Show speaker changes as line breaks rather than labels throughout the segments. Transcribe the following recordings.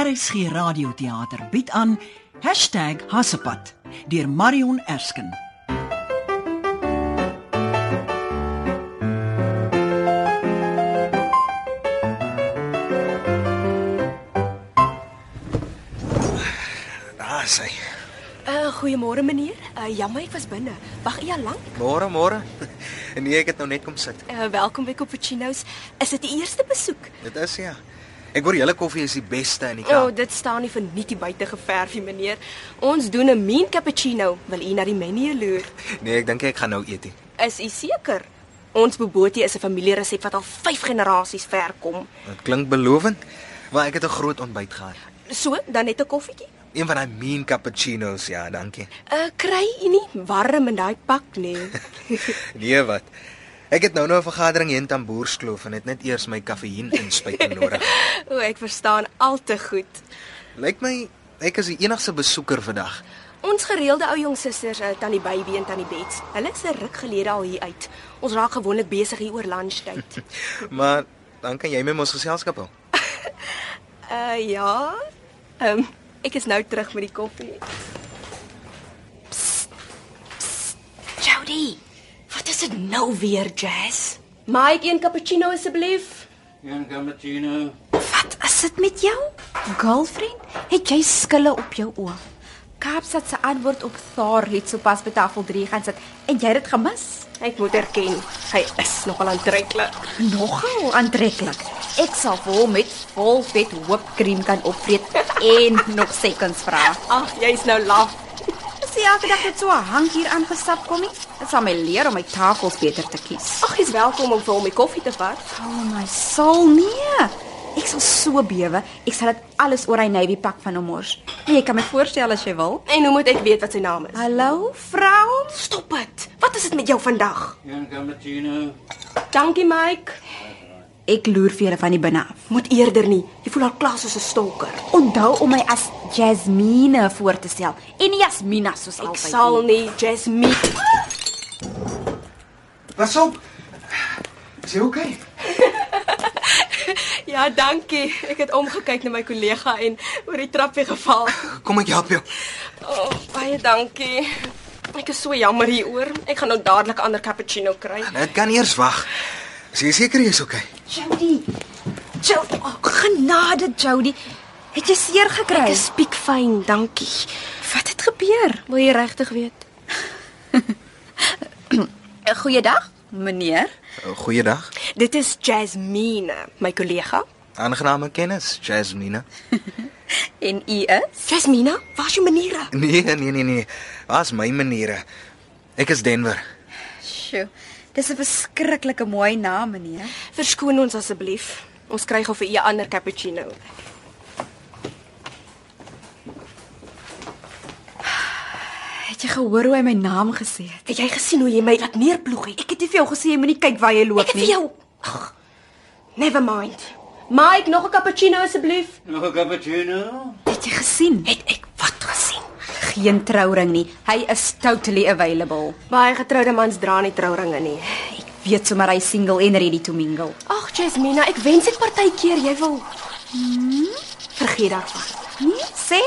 RSG Radioteater bied aan #Hassepad deur Marion Erskine.
Daar Ah, sy.
Uh, goeiemôre meneer. Uh, jammer ek was binne. Wag eers lank.
Môre, môre. Nee, ek het nou net kom sit.
Uh, welkom by Cappuccinos. Is dit die eerste besoek?
Dit is ja. Ek hoor julle koffie is die beste in die
O, oh,
Kaap.
dit staan nie vir nie die buite geverfie meneer. Ons doen 'n mean cappuccino. Wil u na die menu loer?
Nee, ek dink ek gaan nou eet. hier.
Is u seker? Ons bobotie is 'n familieresep wat al 5 generasies ver kom.
Dit klink belovend, maar ek het 'n groot ontbyt gehad.
So, dan net 'n koffietjie.
Een van daai mean cappuccinos, ja, dankie.
Uh, kry u nie warm in daai pak nie.
Nee, wat? Ek het nou nou 'n vergadering hier in Tamboerskloof en het net eers my kafeïen inspuiting nodig.
o, ek verstaan al te goed.
Lyk my ek is die enigste besoeker vandag.
Ons gereelde ou jong susters, uh, tannie Baby en tannie Bets, hulle is 'n ruk gelede al hier uit. Ons raak gewoonlik besig hier oor lunchtyd.
Maar dan kan jy met ons geselskap hou.
Uh ja. Ehm um, ek is nou terug met die koffie. Jody, wat is dit nou weer, Jazz? Maak een cappuccino asseblief.
Een cappuccino.
Wat is dit met jou? Girlfriend, het jy skille op jou oë? Kaapstad se antwoord op Thaar het sopas by tafel 3 gaan sit en jy het dit gemis.
Ek moet erken, hy is nogal aantreklik.
Nogal aantreklik. Ek sal vir hom met vol vet hoopkrem kan opvreet en nog seconds vra.
Ag, jy's nou laf.
As jy elke dag net so 'n hank hier aangestap kom nie, dit sal my leer om my tafels beter te kies.
Ag, jy's welkom om vir hom 'n koffie te vat.
Oh my soul, nee. Ek sal so bewe. Ek sal dit alles oor hy navy pak van hom mors. Nee, jy kan my voorstel as jy wil.
En hoe moet ek weet wat sy naam is?
Hallo, vrou?
Stop dit. Wat is dit met jou vandag?
Een cappuccino.
Dankie, Mike.
Ek loer vir julle van die binne af.
Moet eerder nie. Jy voel al klaar soos 'n stalker.
Onthou om my as Jasmine voor te stel en nie Jasmina soos
Ek
altyd.
sal nie, Jasmine.
Pas op. Is jy okay?
Ja, dankie. Ek het omgekyk na my kollega en oor die trap weer geval.
Kom ek help jou.
O, oh, baie dankie. Ek is so jammer hieroor. Ek gaan nou dadelik 'n ander cappuccino kry.
Dit kan eers wag. Is jy seker jy's okay?
Jody. Jo, oh, genade Jody. Het jy seer gekry?
Ek is piekfyn, dankie.
wat het gebeur?
Wil jy regtig weet?
'n eh, Goeiedag, meneer.
Eh, Goeiedag.
Dit is Jasmine, my kollega.
Aangename kennis, Jasmine.
En u is?
Jasmina, waar is jou maniere?
Nee, nee, nee, nee. Was my maniere. Ek is Denver.
Sjoe. Dis 'n verskriklike mooi naam, meneer.
Verskoon ons asseblief. Ons kry gou vir u 'n ander cappuccino.
Het jy gehoor hoe hy my naam gesê het?
Het jy gesien hoe jy my laat neerploeg het?
Ek het nie vir jou gesê jy moenie kyk waar jy loop
Ek het vir jou. Ag, never mind. Mike, nog 'n cappuccino asseblief.
Nog een cappuccino.
Het jy gesien?
Het ek wat gesien?
Geen trouring nie. Hy is totally available.
Baie getroude mans dra nie trouringe nie.
Ek weet sommer hy single en ready to mingle.
Ag, Jasmina, ek wens ek partykeer jy wil. Vergeet daarvan.
Nee, sê?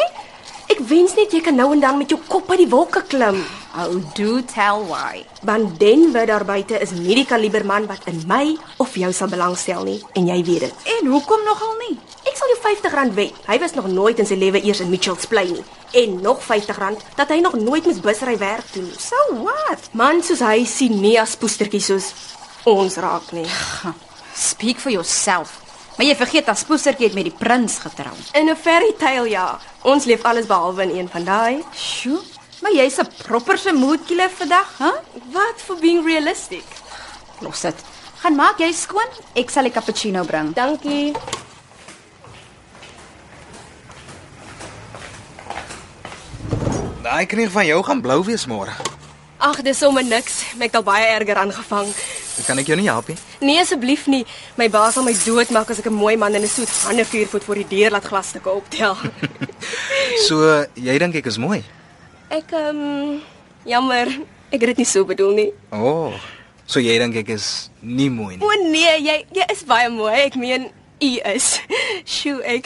Ek wens net jy kan nou en dan met jou kop uit die wolke klim.
Oh, do tell why.
Want Denver daar buite is nie die kaliber man wat in my of jou sal belangstel nie en jy weet dit.
En hoekom nogal nie?
Ek sal jou R50 wen. Hy was nog nooit in sy lewe eers in Mitchells Plain nie en nog R50 dat hy nog nooit mis busry werk toe nie.
So what?
Man soos hy sien nie as poestertjies soos ons raak nie.
Speak for yourself. Maar jy vergeet dat Spoesertjie het met die prins getrou.
In 'n fairy tale ja, ons leef alles behalwe in een van daai.
Sjoe. Maar jy's 'n properse moodkiller vandag, hè? Huh?
Wat for being realistic.
Los dit. Gaan maak jy skoon. Ek sal 'n cappuccino bring.
Dankie.
Daai knie van jou gaan blou wees môre.
Ag, dis sommer niks. Ek het al baie erger aangevang.
Kan ek jou nie help nie?
Nee asseblief nie. My baas sal my doodmaak as ek 'n mooi man in 'n soet hande vuurvoet voor die deur laat ja. glasstukke optel.
So, jy dink ek is mooi.
ek ehm um, jammer, ek het dit nie so bedoel nie.
O. Oh, so jy dink ek is nie mooi
O
nie.
nee, jy jy is baie mooi. Ek meen u is. Sjoe, ek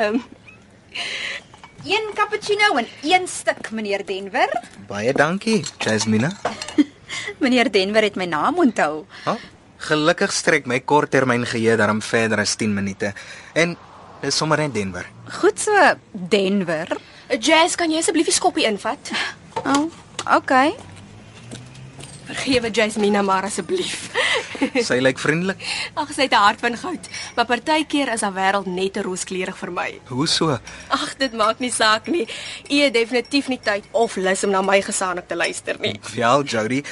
ehm um,
Een cappuccino en een stuk, meneer Denver.
Baie dankie, Jasmina.
Meneer Denver het my naam onthou.
Oh, gelukkig strek my korttermyn geheue daarom verder as 10 minute. En dis sommer net Denver.
Goed so, Denver.
Jazz, kan jy asseblief die skoppie invat?
O, oh, okay.
Vergewe Jasmina maar asseblief.
Sy lyk vriendelik.
Ag, sy het 'n hart van goud, maar partykeer is haar wêreld net te rooskleurig vir my.
Hoe so?
Ag, dit maak nie saak nie. U het definitief nie tyd of lus om na my gesanik te luister nie.
Wel, Jody,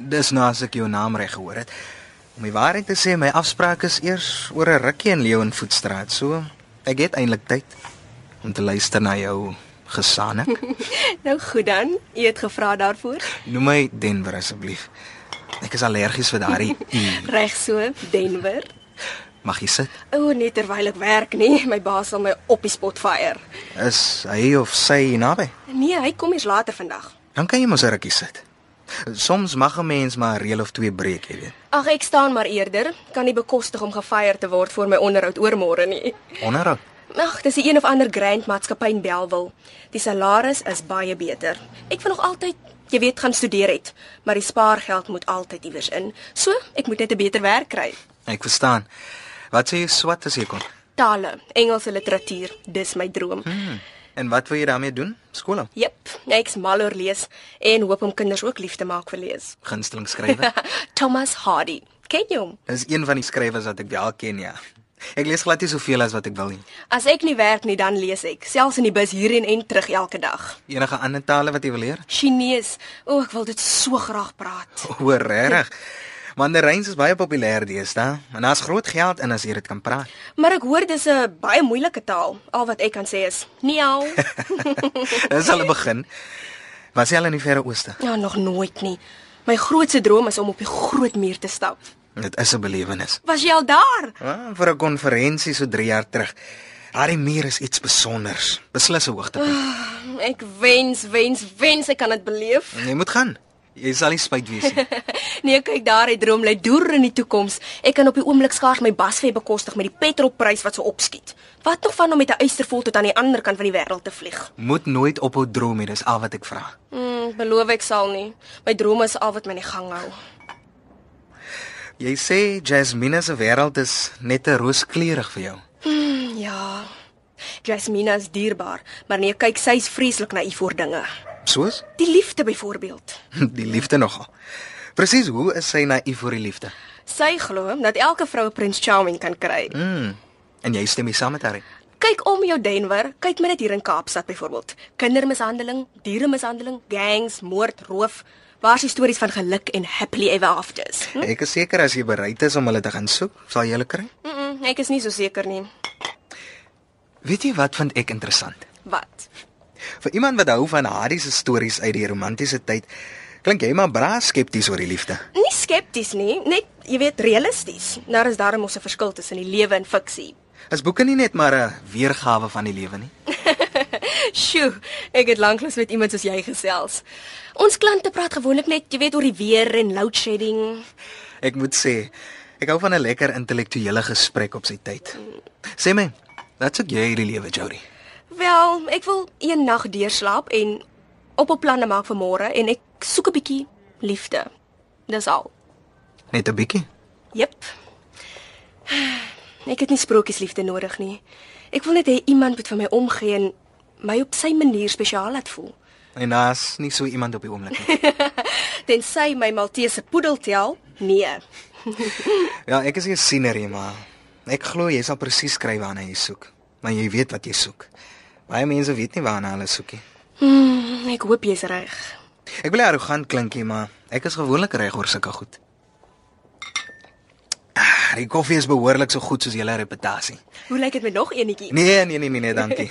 dis nou as ek jou naam reg gehoor het. Om die waarheid te sê, my afspraak is eers oor 'n rukkie in Leeuwenfoetstraat, so ek het eintlik tyd om te luister na jou gesanik.
Nou goed dan, u het gevra daarvoor.
Noem my Denver asseblief. Ek is allergies vir daardie. U.
Reg so, Denver.
Mag jy sit?
O, net terwyl ek werk nie, my baas sal my op die spot fire.
Is hy of sy naby?
Nee, hy kom eers later vandag.
Dan kan jy mos 'n rukkie sit. Soms mag 'n mens maar 'n reël of twee breek, jy weet.
Ag, ek staan maar eerder, kan nie bekostig om gefire te word vir my onderhoud oormôre nie.
Onderhou.
Ag, dis die een of ander grand maatskappy in Belwel. Die salaris is baie beter. Ek wil nog altyd, jy weet, gaan studeer het, maar die spaargeld moet altyd iewers in. So, ek moet net 'n beter werk kry.
Ek verstaan. Wat sê jy swat as jy kom?
Tale, Engelse literatuur, dis my droom.
Hmm. En wat wil jy daarmee doen? Skool af.
Jep, ek's mal oor lees en hoop om kinders ook lief te maak vir lees.
Gunsteling skrywer.
Thomas Hardy, ken jy hom?
Dis een van die skrywers wat ek wel ken, ja. Ek lees glad nie soveel as wat ek wil nie.
As ek nie werk nie, dan lees ek, selfs in die bus hierheen en terug elke dag.
Enige ander tale wat jy wil leer?
Chinees, o, oh, ek wil dit so graag praat.
O, regtig. Mandaryns is baie populêr deesdae, en daar's groot geld in as jy dit kan praat.
Maar ek hoor dis 'n baie moeilike taal. Al wat ek kan sê is niao.
Dis al 'n begin. Was jy al in die verre ooste?
ja, nog nooit nie. My grootste droom is om op die groot muur te stap.
Dit is 'n belewenis.
Was jy al daar?
Ah, vir 'n konferensie so 3 jaar terug. Daardie muur is iets spesiaals. Beslis 'n hoogtepunt.
Ek wens, wens, wens ek kan dit beleef.
Jy moet gaan. Jy sal nie spyt wees nie.
nee, kyk daar, hy droom lê deur in die toekoms. Ek kan op die oomblik skaars my basfee bekostig met die petrolprys wat so opskiet. Wat nog van om met 'n eystervol tot aan die ander kant van die wêreld te vlieg?
Moet nooit ophou droom nie, dis al wat ek vra.
Mm, beloof ek sal nie. My drome is al wat my in die gang hou.
Jy sê Jasmine se wêreld is net 'n rooskleurig vir jou.
Mm, Ja. Jasmina is dierbaar, maar nee, kyk, sy's vreeslik naïef oor dinge.
Soos
Die liefde byvoorbeeld.
die liefde nogal. Presies, hoe is sy naïef vir die liefde?
Sy glo dat elke vrou 'n prins charming kan kry.
Mm. En jy stem mee saam met haar. hè?
Kyk om jou Denver, kyk maar net hier in Kaapstad byvoorbeeld. Kindermishandeling, dieremishandeling, gangs, moord, roof. Waar's die stories van geluk en happily ever afters? Hm?
Ek is seker as jy bereid is om hulle te gaan soek, sal jy hulle kry.
Mm -mm, ek is nie so seker nie.
Weet jy wat vind ek interessant?
Wat?
Vir iemand wat hou van Harry se stories uit die romantiese tyd, klink jy maar bra skepties oor die liefde.
Nie skepties nie, net jy weet realisties. Daar is daarom mos 'n verskil tussen die lewe en fiksie.
Is boeke nie net maar 'n weergawe van die lewe nie?
Sjoe, ek het lanklaas met iemand soos jy gesels. Ons klante praat gewoonlik net, jy weet, oor die weer en load shedding.
Ek moet sê, ek hou van 'n lekker intellektuele gesprek op sy tyd. Sê my, wat soek jy hierdie lewe, Jody?
Wel, ek wil een nag deurslaap en op op planne maak vir môre en ek soek 'n bietjie liefde. Dis al.
Net 'n bietjie.
Jep. Ek het nie sprokiesliefde nodig nie. Ek wil net hê iemand moet vir my omgee en my op sy manier spesiaal laat voel.
En daar's nie so iemand op die oomblik nie.
Tensy my Maltese poedel tel? Nee.
ja, ek is nie 'n sienerie, maar ek glo jy sal presies kry waarna jy soek. Maar jy weet wat jy soek. Baie mense weet nie waarna hulle soek nie.
Hmm, ek hoop jy's reg.
Ek wil nie arrogant klink nie, maar ek is gewoonlik reg oor sulke goed. Ah, die koffie is behoorlik so goed soos julle reputasie.
Hoe lyk dit met nog enetjie?
Nee, nee, nee, nee, nee, dankie.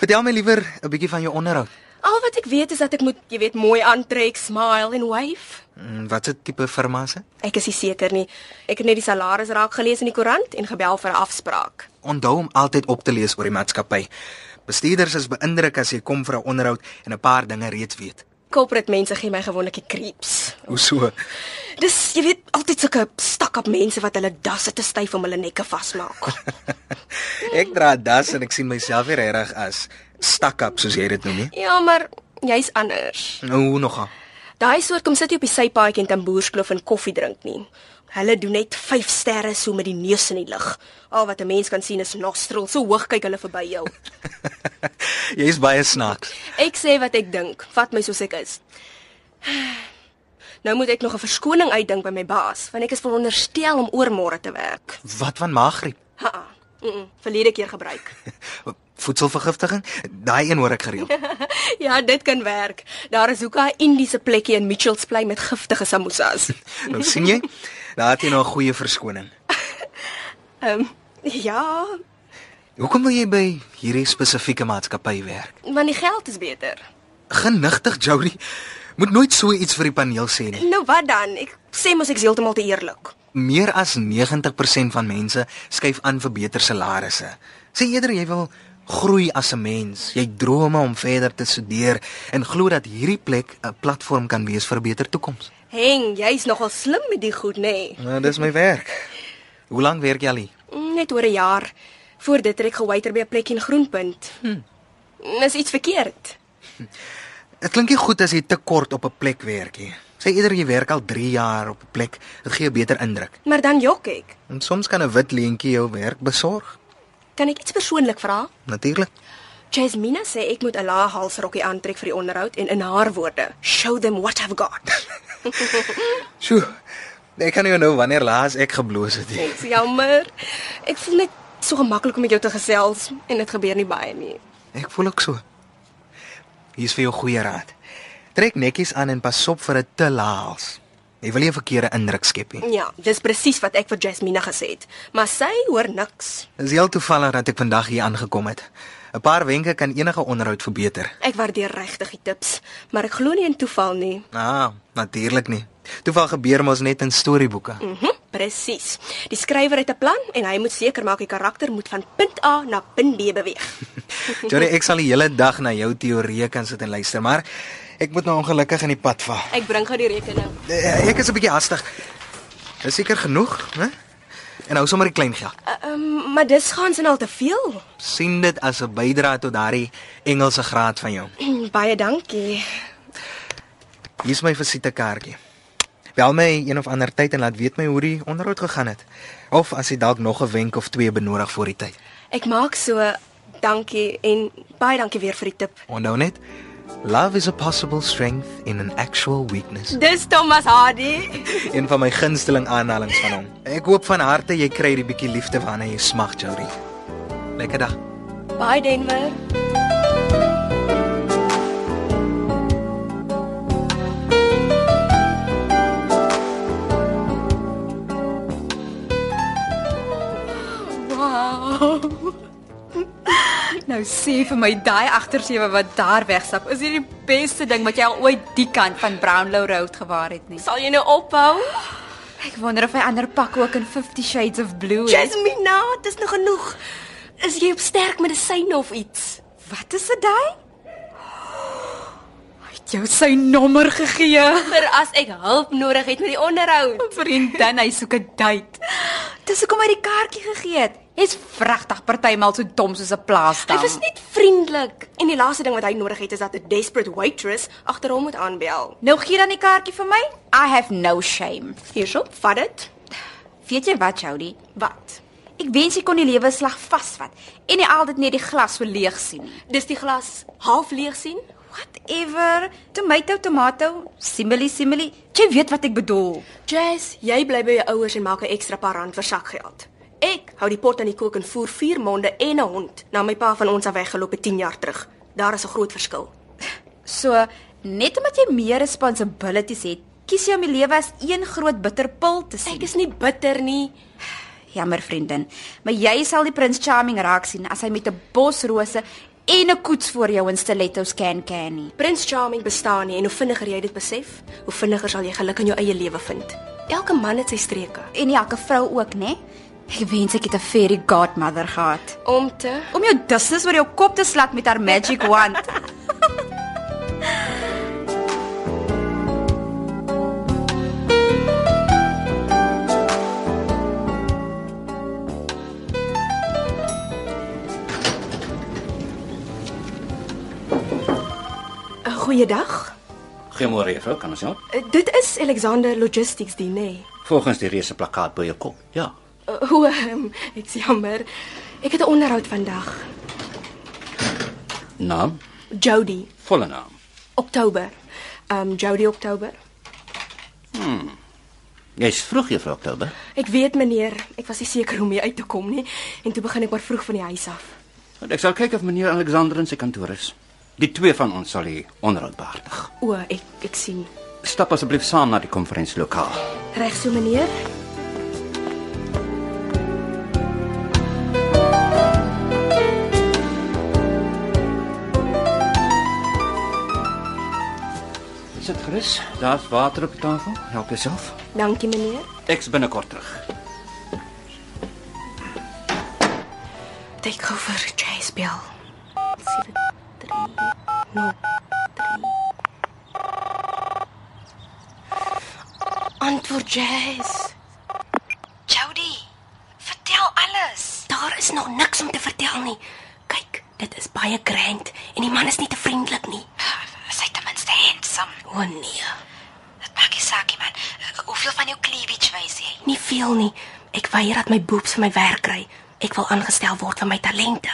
Vertel my liewer 'n bietjie van jou onderhoud.
Al wat ek weet is dat ek moet, jy weet, mooi aantrek, smile en wave.
Mm, Wat 'n tipe firma se?
Ek is nie seker nie. Ek het net die salaris raak gelees in die koerant en gebel vir 'n afspraak.
Onthou om altyd op te lees oor die maatskappy. Bestuurders is beïndruk as jy kom vir 'n onderhoud en 'n paar dinge reeds weet.
Corporate mense gee my gewoonlik die creeps.
Hoe so?
Dis jy weet altyd sulke stakkap mense wat hulle dasse te styf om hulle nekke vasmaak.
Ek dra das en ek sien myself nie regtig as stakkap soos jy dit noem nie.
ja, maar jy's anders.
Nou hoe nogal.
Daai soort kom sit jy op die sypaadjie in Tamboerskloof en koffie drink nie. Hulle doen net 5 sterre so met die neus in die lug. Al wat 'n mens kan sien is nostrils. So hoog kyk hulle verby jou.
Jy's baie snaaks.
Ek sê wat ek dink. Vat my soos ek is. Nou moet ek nog 'n verskoning uitdink by my baas, want ek is veronderstel om oormôre te werk.
Wat van maaggriep?
Ha. Mm -mm, verlede keer gebruik.
Voedselvergiftiging? Daai een hoor ek gereeld.
ja, dit kan werk. Daar is ook 'n Indiese plekkie in Mitchells Plain met giftige samosas.
Nou sien jy? Daar het jy nou 'n goeie verskoning.
Ehm um, ja,
Hoekom wil jy by hierdie spesifieke maatskappy werk?
want die geld is beter.
Genigtig, Jody. Moet nooit so iets vir die paneel sê nie.
Nou wat dan? Ek sê mos ek's heeltemal te eerlik.
Meer as 90% van mense skuif aan vir beter salarisse. Sê eerder jy wil groei as 'n mens. Jy drome om verder te studeer en glo dat hierdie plek 'n platform kan wees vir 'n beter toekoms.
Heng, jy's nogal slim met die goed, nê? Nee.
Nou, dis my werk. Hoe lank werk jy al hier?
Mm, Net oor 'n jaar. Voor dit het ek gewaiter by 'n plek in Groenpunt. Hm. Is iets verkeerd.
Dit klink nie goed as jy te kort op 'n plek werk nie. Sê eerder jy werk al 3 jaar op 'n plek, dit gee 'n beter indruk.
Maar dan jok ek.
En soms kan 'n wit leentjie jou werk besorg,
Kan ek iets persoonlik vra?
natuurlik.
Jasmina sê ek moet 'n lae halsrokkie aantrek vir die onderhoud en in haar woorde, show them what I've got.
Sjoe. Ek kan jou nou wanneer laas ek gebloos het. nie.
Ek's jammer. Ek voel net so gemaklik om met jou te gesels en dit gebeur nie baie nie.
Ek voel ook so. Hier's vir jou goeie raad. Trek netjies aan en pas op vir 'n te laals. Jy wil nie 'n verkeerde indruk skep nie.
Ja, dis presies wat ek vir Jasmina gesê het, maar sy hoor niks.
Dit is heel toevallig dat ek vandag hier aangekom het. 'n Paar wenke kan enige onderhoud verbeter.
Ek waardeer regtig die tips, maar ek glo nie in toeval nie.
Ah, natuurlik nie. Toeval gebeur mos net in storieboeke.
Mhm, presies. Die skrywer het 'n plan en hy moet seker maak die karakter moet van punt A na punt B beweeg.
Johnny, ek sal die hele dag na jou teorieë kan sit en luister, maar ek moet nou ongelukkig in die pad val.
Ek bring gou die rekening.
Eh, Ek is 'n bietjie haastig. Is seker genoeg, hè? En hou sommer die klein geld.
Uh, um, maar dis gaan sin al te veel.
Sien dit as 'n bydrae tot daardie Engelse graad van jou.
Baie dankie.
Hier's my visitekaartjie. Bel my een of ander tyd en laat weet my hoe die onderhoud gegaan het. Of as jy dalk nog 'n wenk of twee benodig voor die tyd.
Ek maak so dankie en baie dankie weer vir die tip.
Onthou net, love is a possible strength in an actual weakness.
Dis Thomas Hardy.
Een van my gunsteling aanhalings van hom. Ek hoop van harte jy kry die bietjie liefde waarna jy smag, Jody. Lekker dag.
Bye Denver.
Wow. Nou sê vir my daai agtersewe wat daar wegstap, is hierdie beste ding wat jy al ooit die kant van Brownlow Road gewaar het nie.
Sal jy nou ophou?
Ek wonder of hy ander pak ook in 50 Shades of Blue het.
Jasmina, dis nog genoeg. Is jy op sterk medisyne of iets?
Wat is dit daai? Hy het jou sy nommer gegee.
Vir as ek hulp nodig het met die onderhoud.
Vriendin, hy soek 'n date. Dis hoekom hy die kaartjie gegee het. Hy's vragtig partymal so dom soos 'n plaasdam.
Hy was net vriendelik. En die laaste ding wat hy nodig het is dat 'n desperate waitress agter hom moet aanbel.
Nou gee dan die kaartjie vir my. I have no shame.
Hierso, vat dit.
Weet jy wat, Jody?
Wat?
Ek wens ek kon die lewe 'n slag vasvat en nie altyd net die glas so leeg sien nie.
Dis die glas half leeg sien?
Whatever. Tomato, tomato. Simili, simili. Jy weet wat ek bedoel.
Jess, jy bly by jou ouers en maak 'n ekstra paar rand vir sakgeld. Ek hou die pot aan die kook en voer 4 maande en 'n hond na my pa van ons af weggeloop het 10 jaar terug. Daar is 'n groot verskil.
So, net omdat jy meer responsibilities het, kies jy om die lewe as een groot bitterpil te sien.
Ek is nie bitter nie.
Jammer vriendin, maar jy sal die prins charming raak sien as hy met 'n bos rose en 'n koets voor jou in stilettos kan kan nie.
Prins Charming bestaan nie en hoe vinniger jy dit besef, hoe vinniger sal jy geluk in jou eie lewe vind. Elke man het sy streke.
En elke vrou ook, né? Ek wens ek het 'n fairy godmother gehad
Om te
om jou dustes oor jou kop te slak met haar magic wand.
Goeiedag.
Goeiemôre juffrou, kan ons help?
Eh, Dit is Alexander Logistics die nee.
Volgens die reuse plakkaat by jou kop. Ja.
Eh, O, ehm, ek's jammer. Ek het 'n onderhoud vandag.
Naam,
Jody,
volle naam.
Oktober. Ehm Jody Oktober.
Jy's vroeg juffrou Oktober.
Ek weet meneer, ek was nie seker hoe om hier uit te kom nie en toe begin ek maar vroeg van die huis af.
Want ek sal kyk of meneer Alexander in sy kantoor is. Die twee van ons sal hier onderhoud behartig.
O, ek ek sien.
Stap asseblief saam na die konferenslokaal.
Reg so meneer.
Sit gerus. Daar's water op die tafel. Help jouself.
Dankie meneer.
Ek's binnekort terug.
Take over Chase Bill. 7 3 0 Antwoord Chase.
Jody, vertel alles.
Daar is nog niks om te vertel nie. Kyk, dit is baie grand en die man is nie te vriendelik nie.
Sy ten minste handsome.
O nee,
Dit maak nie saak nie man. Hoeveel van jou cleavage wys jy?
nie veel nie. Ek weier dat my boobs vir my werk kry. Ek wil aangestel word vir my talente.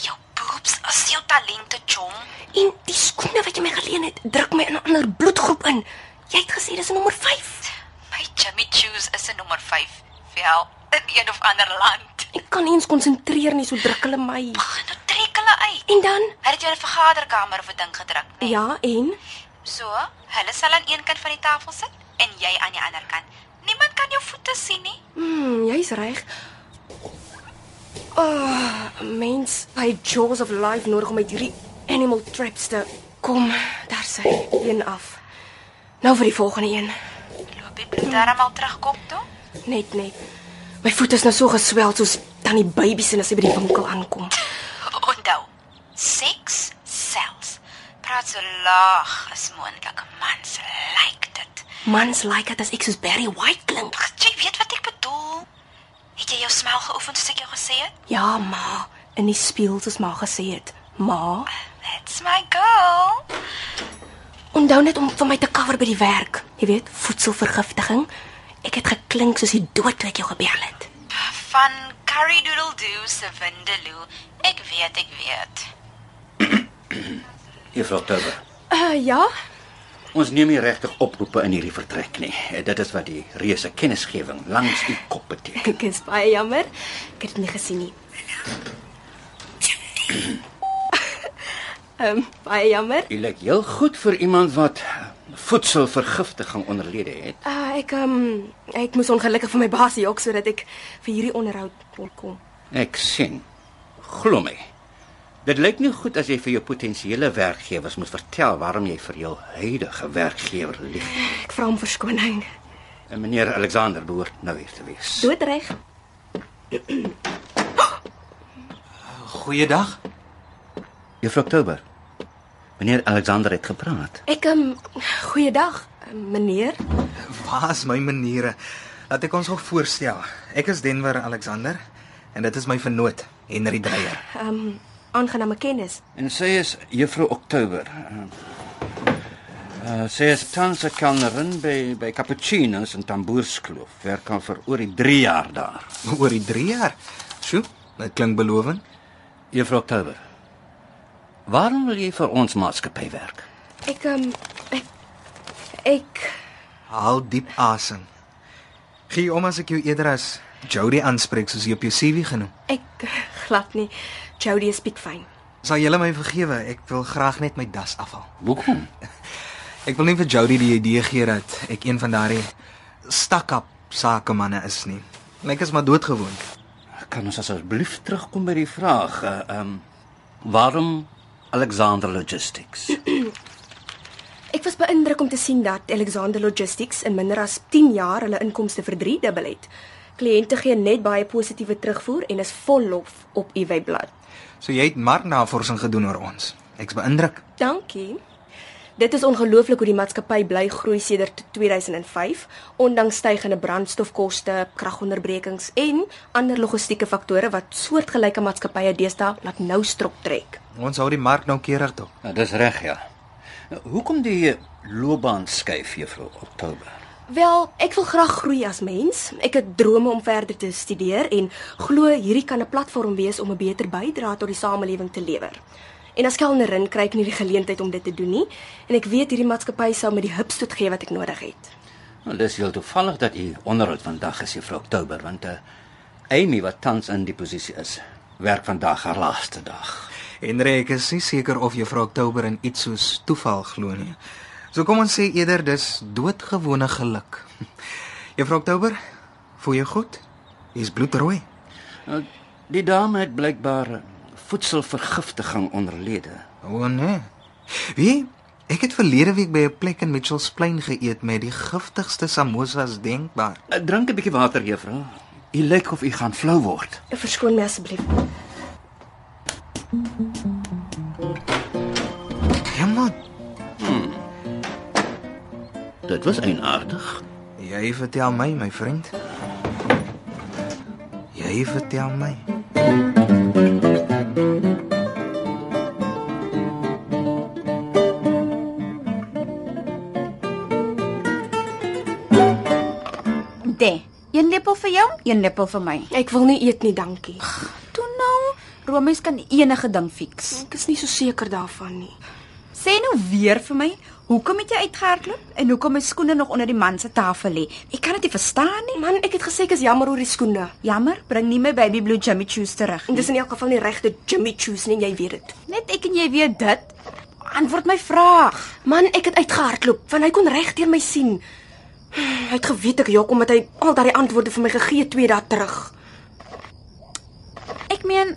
Jou boobs is jou talente, Chom.
En die skoene wat jy my geleen het, druk my in 'n ander bloedgroep in. Jy het gesê dis 'n nommer 5.
My Jimmy Choos is 'n nommer 5. Wel, in een of ander land.
Ek kan nie eens konsentreer nie, so druk hulle my.
Ag, nou trek hulle uit.
En dan?
Hulle het jou in 'n vergaderkamer of 'n ding gedruk, né?
Ja, en
So, hulle sal aan een kant van die tafel sit en jy aan die ander kant. Niemand kan jou voete sien nie.
Hmm, jy's reg. Ah, oh, mens, hy jaws of life nodig om uit hierdie animal traps te kom. Daar sy, een af. Nou vir die volgende een.
Loop die bloed daarmal terugkom toe?
Net net. My voet is nou so geswel soos tannie babies en as sy by die winkel aankom.
Onthou, seks selfs. Praat so laag as moontlik. Mans like dit.
Mans like dit as ek soos Barry White klink.
Ag, Jy weet wat ek bedoel. Het jy jou smel geoefen soos ek jou gesê het?
Ja, ma, in die spieël soos ma gesê het. Ma,
That's my girl.
onthou net om vir my te cover by die werk. Jy weet, voedselvergiftiging. Ek het geklink soos die dood toe ek jou gebel het.
Van Curry Doodle Doo se Windeloo. Ek weet, ek weet.
Juffrou Oktober.
Uh ja,
Ons neem nie regtig oproepe in hierdie vertrek nie. Eh, Dit is wat die reuse kennisgewing langs u kop beteken.
ek is baie jammer. Ek het dit nie gesien nie. Ehm um, baie jammer.
U lyk heel goed vir iemand wat voedselvergiftiging onderlede het.
Uh ek ehm um, ek moes ongelukkig vir my baas jok sodat ek vir hierdie onderhoud kon kom.
Ek sien. Glo my. Dit lyk nie goed as jy vir jou potensiële werkgewers moet vertel waarom jy vir jou huidige werkgewer lieg.
Ek vra om verskoning.
En meneer Alexander behoort nou hier te wees.
Doodreg.
Goeiedag.
Juffrou Oktober. Meneer Alexander het gepraat.
Ek ehm um, goeiedag ehm, meneer.
Waar is my maniere? Laat ek ons gou voorstel. Ek is Denver Alexander en dit is my vernoot, Henry Dreyer.
Ehm um, aangename kennis.
En sy is Juffrou Oktober. Uh, sy is tans 'n kelnerin by by Cappuccino's in Tamboerskloof. Werk al vir oor die 3 jaar daar.
Oor die 3 jaar. Sjoe, dit klink belovend.
Juffrou Oktober. Waarom wil jy vir ons maatskappy werk?
Ek ehm um, ek ek
Haal diep asem. Gee om as ek jou eerder as Jody aanspreek soos jy op jou CV genoem.
ek glad nie. Jody speak fyn.
Sal julle my vergewe? Ek wil graag net my das afhaal.
Hoekom?
Ek wil nie vir Jody die idee gee dat ek een van daardie stakkap sakemanne is nie. Lyk is maar doodgewoon.
Kan ons asseblief terugkom by die vraag, ehm uh, um, waarom Alexander Logistics?
Ek was beïndruk om te sien dat Alexander Logistics in minder as 10 jaar hulle inkomste verdriedubbel het. Kliënte gee net baie positiewe terugvoer en is vol lof op u webblad.
So jy het marknavorsing gedoen oor ons. Ek's beïndruk.
Dankie. Dit is ongelooflik hoe die maatskappy bly groei sedert 2005, ondanks stygende brandstofkoste, kragonderbrekings en ander logistieke faktore wat soortgelyke maatskappye deesdae laat nou strop trek.
Ons hou die mark noukeurig dop.
Ja, dis reg ja. Hoekom die eh, loopbaan skuif, Juffrou Oktober?
Wel, ek wil graag groei as mens. Ek het drome om verder te studeer en glo hierdie kan 'n platform wees om 'n beter bydrae tot die samelewing te lewer. En as kelnerin kry ek nie die geleentheid om dit te doen nie en ek weet hierdie maatskappy sou my die hupstoot gee wat ek nodig het.
Nou, dis heel toevallig dat u onderhoud vandag is, Juffrou Oktober, want eh Amy wat tans in die posisie is, werk vandag haar laaste dag.
Henry, ek is nie seker of juffrou Oktober in iets soos toeval glo nie. So kom ons sê eerder dis doodgewone geluk. Juffrou Oktober, voel jy goed? Jy's bloedrooi.
Nou, die dame het blykbaar eh, voedselvergiftiging onderlede.
O nee. Wie? Ek het verlede week by 'n plek in Mitchells Plain geëet met die giftigste samosas denkbaar.
Eh, Drink 'n bietjie water, Juffrou. U lyk of u gaan flou word.
Ek verskoon my asseblief.
Jammer,
Dit was eienaardig.
jy vertel my, my vriend. Jy vertel my.
De, een lepel vir jou, een lepel vir my.
Ek wil nie eet nie, dankie.
Toe nou, Romeis kan enige ding fix.
Ek is nie so seker daarvan nie.
Sê nou weer vir my, hoekom het jy uitgehardloop en hoekom my skoene nog onder die man se tafel lê? Ek kan dit nie verstaan nie.
Man, ek het gesê ek is jammer oor die skoene.
Jammer, bring nie my baby blue Jimmy shoes terug.
En dis in elk geval nie regte Jimmy Choos nie, jy weet dit.
Net ek en jy weet dit. Antwoord my vraag.
Man, ek het uitgehardloop want hy kon reg deur my sien. Hy het geweet ek jok omdat hy al daai antwoorde vir my gegee het twee dae terug.
Ek meen,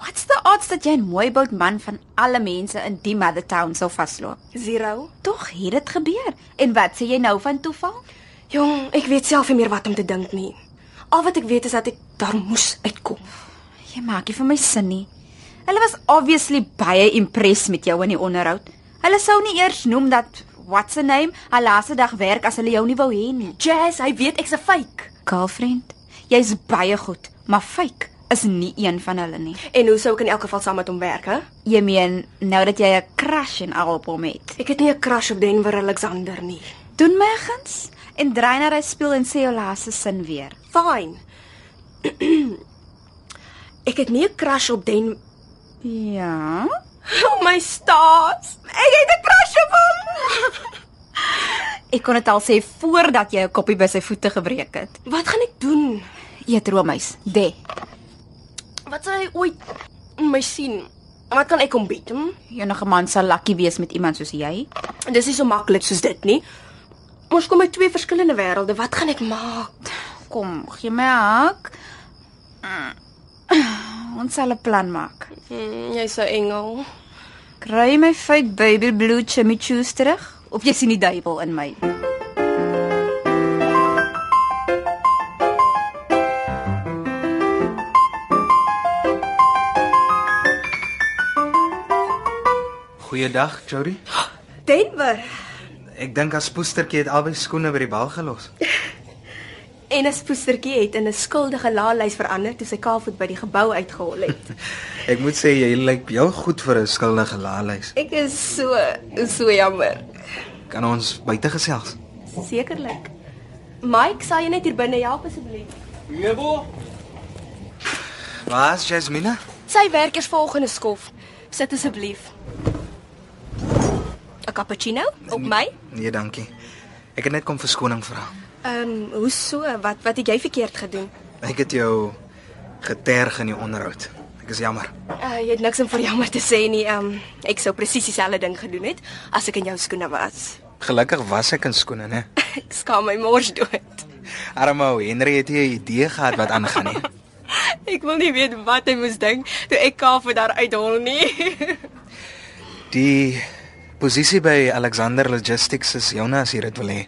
what's the odds dat jy 'n mooi bout man van alle mense in die mother town sou vasloop?
Zero.
Tog het dit gebeur. En wat sê jy nou van toeval?
Jong, ek weet self nie meer wat om te dink nie. Al wat ek weet is dat ek daar moes uitkom.
Jy maak nie vir my sin nie. Hulle was obviously baie impressed met jou in die onderhoud. Hulle sou nie eers noem dat what's her name haar laaste dag werk as hulle jou nie wou hê nie.
Jazz, hy weet ek's 'n fake.
Girlfriend, jy's baie goed, maar fake is nie een van hulle nie.
En hoe sou ek in elk geval saam met hom werk, hè?
Jy meen nou dat jy 'n crush en al op hom het.
Ek het nie 'n crush op Denver Alexander nie.
Doen my guns en draai na hy speel en sê jou laaste sin weer.
Fine. ek het nie 'n crush op Den
Ja.
Oh my stars.
Ek het 'n crush op hom. Ek kon dit al sê voordat jy 'n koppie by sy voete gebreek het.
Wat gaan ek doen?
Eet roomys. De.
Wat sal hy ooit my sien? Wat kan ek hom bied? Hm?
Enige man sal lucky wees met iemand soos jy.
En Dis nie so maklik soos dit nie. Ons kom uit twee verskillende wêrelde. Wat gaan ek maak?
Kom, gee my 'n hak. Mm. Ons sal 'n plan maak.
Hmm, Jy's 'n engel.
Kry my fake baby blue chimmy choos terug of jy sien die duiwel in my.
Goeiedag, Jody.
Denver.
Ek dink as poestertjie het albei skoene by die bal gelos.
En 'n spoestertjie het in 'n skuldige laalys verander toe sy kaalvoet by die gebou uitgehol het.
Ek moet sê jy lyk jou goed vir 'n skuldige laalys.
Ek is so so jammer.
Kan ons buite gesels?
Sekerlik. Mike, sal jy net hier binne help asseblief?
Waar's Jasmina?
Sy werk eers volgende skof. Sit asseblief. 'n Cappuccino op my?
Nee, dankie. Ek het net kom verskoning vra.
Ehm, um, hoe so? Wat wat het jy verkeerd gedoen?
Ek het jou geterg in die onderhoud. Ek is jammer.
Uh, jy het niks om vir jammer te sê nie. Um, ek sou presies dieselfde ding gedoen het as ek in jou skoene was.
Gelukkig was ek in skoene, né?
Ek skaam my mors dood.
Arme ou Henry het nie 'n idee gehad wat aangaan nie.
Ek wil nie weet wat hy moes dink toe ek kaal vir daar uithol nie.
Die posisie by Alexander Logistics is joune as jy dit wil hê.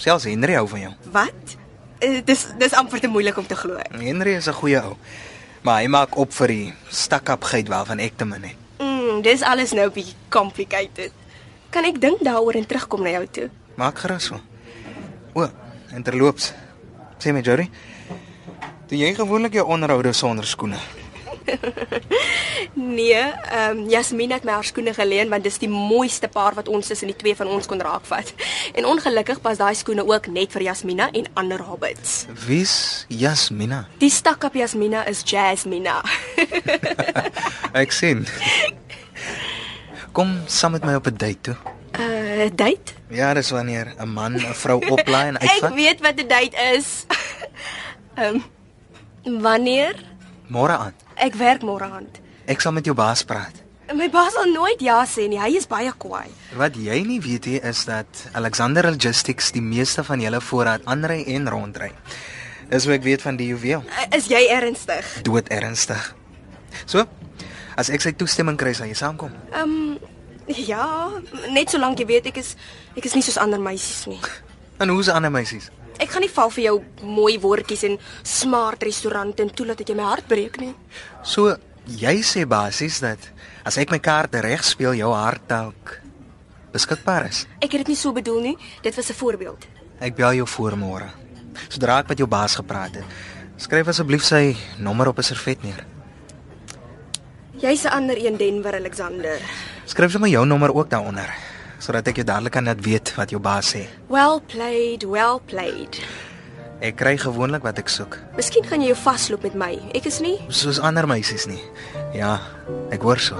Selfs Henry hou van jou.
wat? Uh, dis dis amper te moeilik om te glo.
Henry is 'n goeie ou. Maar hy maak op vir die stakkapgeit waarvan ek te min het.
Mm, dis alles nou 'n bietjie complicated. Kan ek dink daaroor en terugkom na jou toe?
Maak gerus hoor. O, en terloops. Sê my Jory, doen jy gewoonlik jou onderhoude sonder skoene?
Nee, ehm Jasmin het my haar skoene geleen want dis die mooiste paar wat ons tussen die twee van ons kon raakvat. En ongelukkig pas daai skoene ook net vir Jasmina en ander hobbits.
Wie's Jasmina?
Die stakkap Jasmina is Jasmina.
Ek sien. Kom saam met my op 'n date toe.
Uh date?
Ja, dis wanneer 'n man 'n vrou oplaai en
Ek
uitvat.
weet wat 'n date is. Ehm wanneer?
Môre aan.
Ek werk môre aand.
Ek sal met jou baas praat.
My baas sal nooit ja sê nie. Hy is baie kwaai.
Wat jy nie weet nie is dat Alexander Logistics die meeste van julle voorraad aanry en rondry. Dis hoe ek weet van die juweel.
Uh, Is jy ernstig?
Dood ernstig. So, as ek sy toestemming kry, sal jy saamkom.
Ehm um, ja, net solank jy weet ek is ek is nie soos ander meisies nie.
En hoe's die ander meisies?
Ek gaan nie val vir jou mooi woordjies en smart restaurante en toelaat dat jy my hart breek nie.
So, jy sê basies dat as ek my kaarte reg speel, jou hart dalk beskikbaar is.
Ek het dit nie so bedoel nie. Dit was 'n voorbeeld.
Ek bel jou voor môre. Sodra ek met jou baas gepraat het, skryf asseblief sy nommer op 'n servet neer.
Jy's 'n ander een Denver Alexander.
Skryf sommer jou nommer ook daaronder sodat ek jou dadelik kan laat weet wat jou baas sê.
Well played, well played.
Ek kry gewoonlik wat ek soek,
Miskien gaan jy jou vasloop met my. Ek is nie.
soos ander meisies nie. Ja, ek hoor so.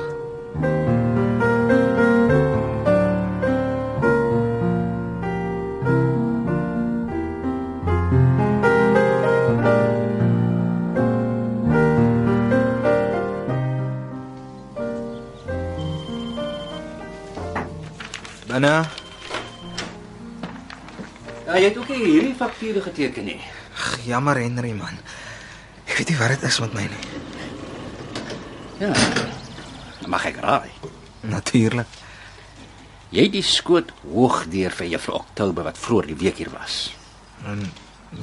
Binne
Ja, jy het ook nie hierdie fakture geteken nie.
Ag, Jammer Henry man. Ek weet nie wat dit is met my nie.
Ja. Mag ek raai?
Natuurlik.
Jy het die skoot hoog deur vir juffrou Oktober wat vroeër die week hier was.
En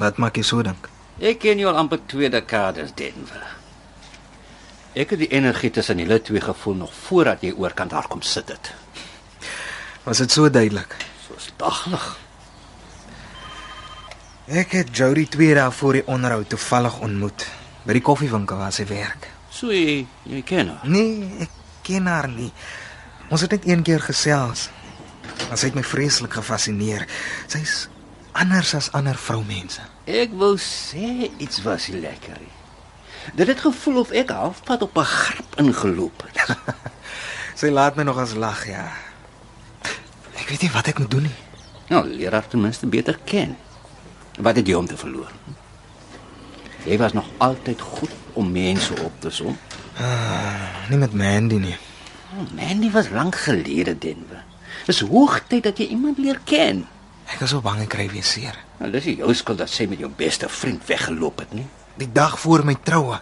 wat maak jy so dink?
Ek ken jou al amper twee dekades Denver. Ek het die energie tussen julle twee gevoel nog voordat jy oorkant daar kom sit het.
Was dit so duidelik?
Soos daglig.
Ek het Jody 2 dae voor die onderhoud toevallig ontmoet by die koffiewinkel waar sy werk.
So jy, jy ken haar.
Nee, ek ken haar nie. Ons het net een keer gesels. Maar sy het my vreeslik gefassineer. Sy's anders as ander vroumense.
Ek wou sê iets was nie lekker nie. Dit het gevoel of ek halfpad op 'n grap ingeloop het.
Sy laat my nog as lag, ja. Ek weet nie wat ek moet doen nie.
Nou, leer haar ten minste beter ken. Wat het jy om te verloor? Jy was nog altyd goed om mense op te som.
Nie met Mandy nie.
Oh, Mandy was lank gelede Denver. Dis hoogtyd dat jy iemand leer ken.
Ek is so bang ek kry weer seer.
Nou, dis nie jou skuld dat sy met jou beste vriend weggeloop het nie.
Die dag voor my troue.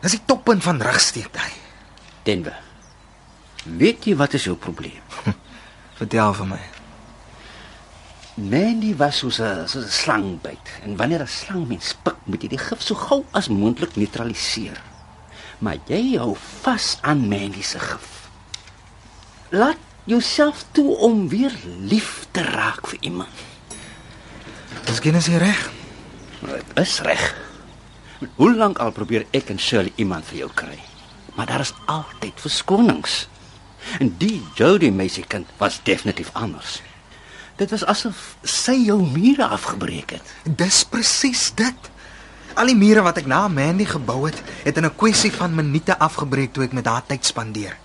Dis die toppunt van rugsteekdaai.
Denver. Weet jy wat is jou probleem?
Vertel vir my.
Mandy was soos 'n soos 'n slangbyt en wanneer 'n slang mens pik, moet jy die gif so gou as moontlik neutraliseer. Maar jy hou vas aan Mandy se gif. Laat jouself toe om weer lief te raak vir iemand.
Miskien is jy reg.
Nou, Dit is reg. Hoe lank al probeer ek en Shirley iemand vir jou kry, maar daar is altyd verskonings. En die Jody meisiekind was definitief anders. Dit was asof sy jou mure afgebreek het.
Dis presies dit. Al die mure wat ek na Mandy gebou het, het in 'n kwessie van minute afgebreek toe ek met haar tyd spandeer.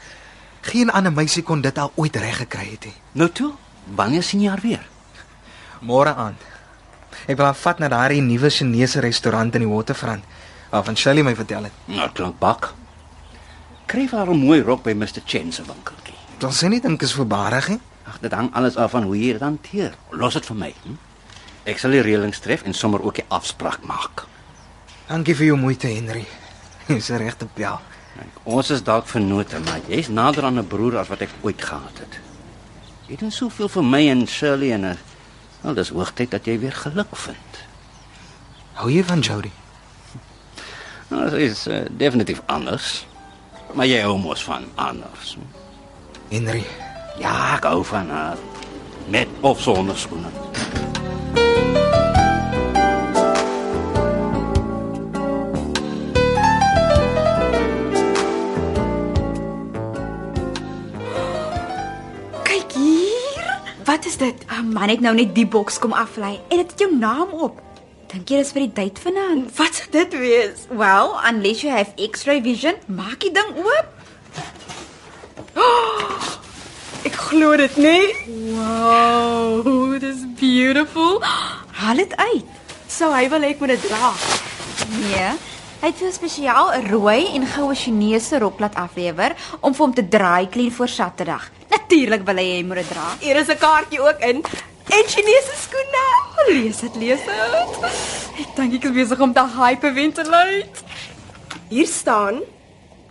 Geen ander meisie kon dit al ooit reg gekry het nie.
Nou toe, wanneer sien jy haar weer?
Môre aand. Ek wil haar vat na daardie nuwe Chinese restaurant in die Waterfront waarvan Shirley my vertel het.
Nou, klink bak. Kry vir haar 'n mooi rok by Mr. Chen se winkeltjie.
Dan sê nie dink is verbarig nie.
Ag, dit hang alles af van hoe jy dit hanteer. Los dit vir my. Hm? Ek sal die reëlings tref en sommer ook die afspraak maak.
Dankie vir jou moeite, Henry. Jy's 'n regte pel.
Kyk, ons is dalk vennote, maar jy's nader aan 'n broer as wat ek ooit gehad het. Jy doen soveel vir my en Shirley en eh, wel, dis hoogtyd dat jy weer geluk vind.
Hou jy van Jody?
Nou, dit is uh, definitief anders. Maar jy hou mos van anders. Hm?
Henry,
Ja, ek hou van haar. Met of sonder skoene.
'n Man het nou net die boks kom aflei en dit het jou naam op. Dink jy dis vir die date vanaand?
Wat sou dit wees?
Well, unless you have X-ray vision, maak die ding oop.
Ek glo dit nie. Wow, dis beautiful.
Haal dit uit.
Sou hy wil hê ek moet dit dra.
Nee. Hy het vir jou spesiaal 'n rooi en goue Chinese rok laat aflewer om vir hom te draai clean voor Saterdag. Natuurlik wil hy hê jy moet dit dra.
Hier is 'n kaartjie ook in. En Chinese skoene. Lees dit, lees dit.
Ek dink ek is besig om te hyperventilate.
Hier staan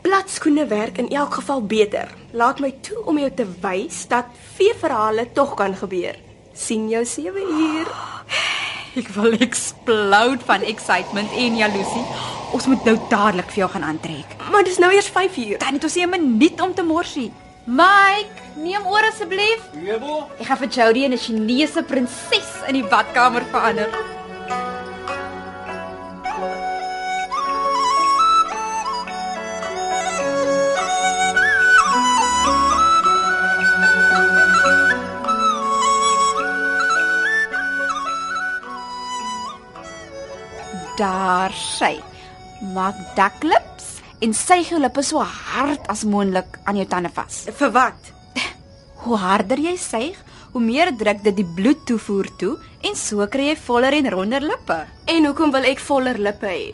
platskoene werk in elk geval beter. Laat my toe om jou te wys dat veeverhale tog kan gebeur. sien jou 7 uur.
Ek wil explode van excitement en jaloesie. Ons moet nou dadelik vir jou gaan aantrek.
Maar dis nou eers 5 uur.
Dan het ons nie 'n minuut om te morsie. Mike, neem oor asseblief. Jebo. Ek gaan vir Jody in 'n Chinese prinses in die badkamer verander. Daar sy. Maak daklips en suig jou lippe so hard as moontlik aan jou tande vas.
Vir wat?
Hoe harder jy suig, hoe meer druk dit die bloed toevoer toe en so kry jy voller en ronder lippe.
En hoekom wil ek voller lippe hê?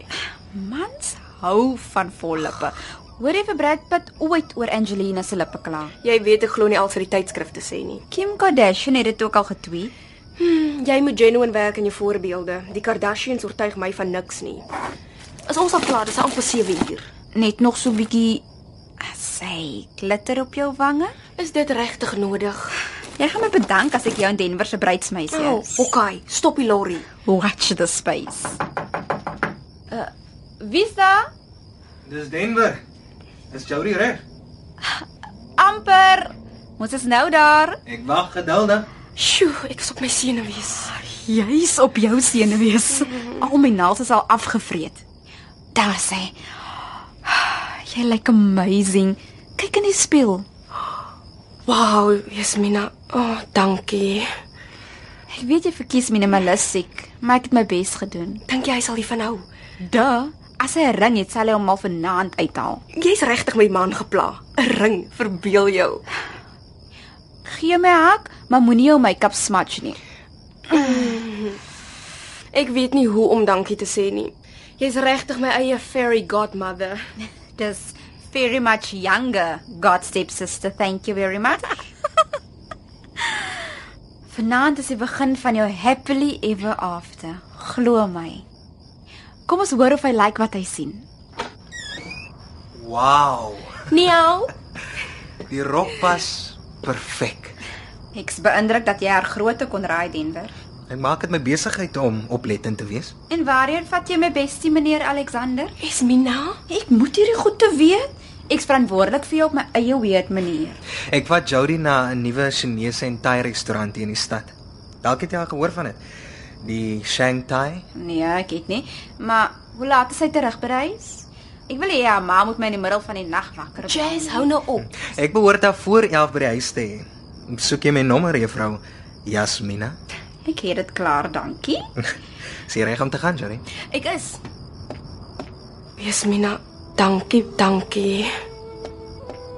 Mans hou van vol lippe. Hoor jy vir Brad Pitt ooit oor Angelina se lippe kla?
Jy weet ek glo nie al vir die tydskrif te sê nie.
Kim Kardashian het dit ook al getweet.
Jy moet genuine werk aan jou voorbeelde. Die Kardashians oortuig my van niks nie. Is ons al klaar? Dis amper 7 uur.
Net nog so 'n bietjie ah, sy glitter op jou wange.
Is dit regtig nodig?
Jy gaan my bedank as ek jou in Denver se bruidsmeisie
Oh,
is.
okay, stop die lorry.
Watch the space. Uh, wie's daar?
Dis Denver. Is Jody reg?
Amper. Ons is nou daar.
Ek wag geduldig.
Sjoe, ek is op my senuwees.
Jy's op jou senuwees. Al my naels is al afgevreet. Daar sê. "Ah, Jy lyk amazing. Kyk in die spieël.
Wow, Jasmina. Oh, dankie.
Ek weet jy verkies minimalistiek, maar ek het my bes gedoen.
Dink jy hy sal hiervan hou?
Da, as hy 'n ring het, sal hy hom al vanaand uithaal.
Jy's regtig my man gepla. 'n Ring, verbeel jou.
Gee my hak, maar moenie jou make-up smudge nie.
Ek weet nie hoe om dankie te sê nie. Jy's regtig my eie fairy godmother.
Dis very much younger, God stepsister. Thank you very much. Vanaand is die begin van jou happily ever after. Glo my. Kom ons hoor of hy like wat hy sien.
Wow.
Nieu.
Die rok pas perfek.
Ek's beïndruk dat jy haar grootte kon raai, Denver.
Ek maak dit my besigheid om oplettend te wees.
En waarheen vat jy my bestie, meneer Alexander?
Jasmina?
Ek moet hierdie goed te weet. Ek's verantwoordelik vir jou op my eie weird manier.
Ek vat Jody na 'n nuwe Chinese en Thai restaurant hier in die stad. Dalk het jy al gehoor van dit. Die Shang Thai.
Nee, ek het nie. Maar hoe laat is hy terug by die huis? Ek wil hê ja, ma moet my in die middel van die nag wakker maak.
Jazz, hou nou op.
Ek behoort daar voor 11 by die huis te hê. Soek jy my nommer, juffrou Jasmina?
Ek het dit klaar, dankie.
Is jy reg om te gaan, Jody?
Ek is.
Jasmina, dankie, dankie.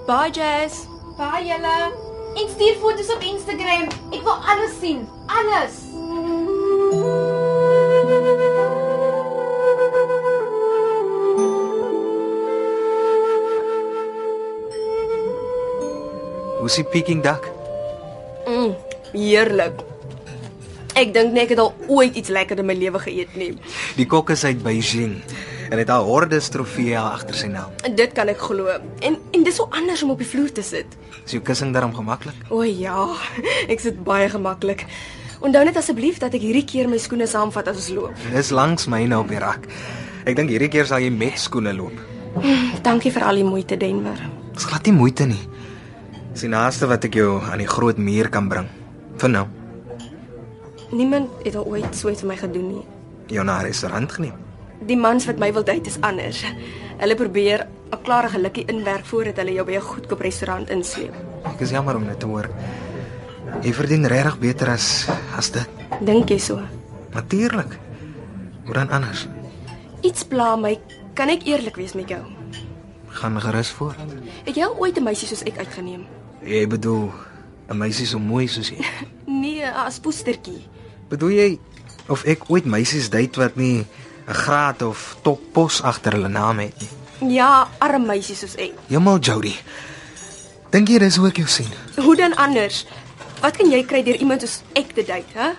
Bye, Jazz.
Baie julle. Ek stuur foto's op Instagram. Ek wil alles sien. Alles.
Hoe's die Peking duck?
Mm, heerlik. Ek dink nie ek het al ooit iets lekkerder in my lewe geëet nie.
Die kok is uit Beijing en het haar hordes trofee agter sy naam.
Dit kan ek glo. En en dis so anders om op die vloer te sit.
Is jou kussing daarom gemaklik?
O ja, ek sit baie gemaklik. Onthou net asseblief dat ek hierdie keer my skoene saamvat as ons loop.
Dis langs myne op die rak. Ek dink hierdie keer sal jy met skoene loop.
Dankie vir al die moeite, Denver.
Dis glad nie moeite nie. Dis die naaste wat ek jou aan die groot muur kan bring. Vir nou,
Niemand het al ooit so iets vir my gedoen nie.
jou na 'n restaurant geneem.
Die mans wat my wil date is anders. Hulle probeer 'n klare gelukkie inwerk voordat hulle jou by 'n goedkoop restaurant insleep.
Ek is jammer om dit te hoor. Jy verdien regtig beter as as dit.
Dink jy so?
Natuurlik. Hoe dan anders?
Iets pla my. Kan ek eerlik wees met jou?
Gaan gerus voort.
Het jy al ooit 'n meisie soos ek uitgeneem?
Jy bedoel 'n meisie so mooi soos jy.
Nee, as poestertjie.
Bedoel jy of ek ooit meisies date wat nie 'n graad of toppos agter hulle naam het nie?
Ja, arm meisie soos ek.
Hemel Jody. Dink jy dis hoe ek jou sien?
Hoe dan anders? Wat kan jy kry deur iemand soos ek te date, hè?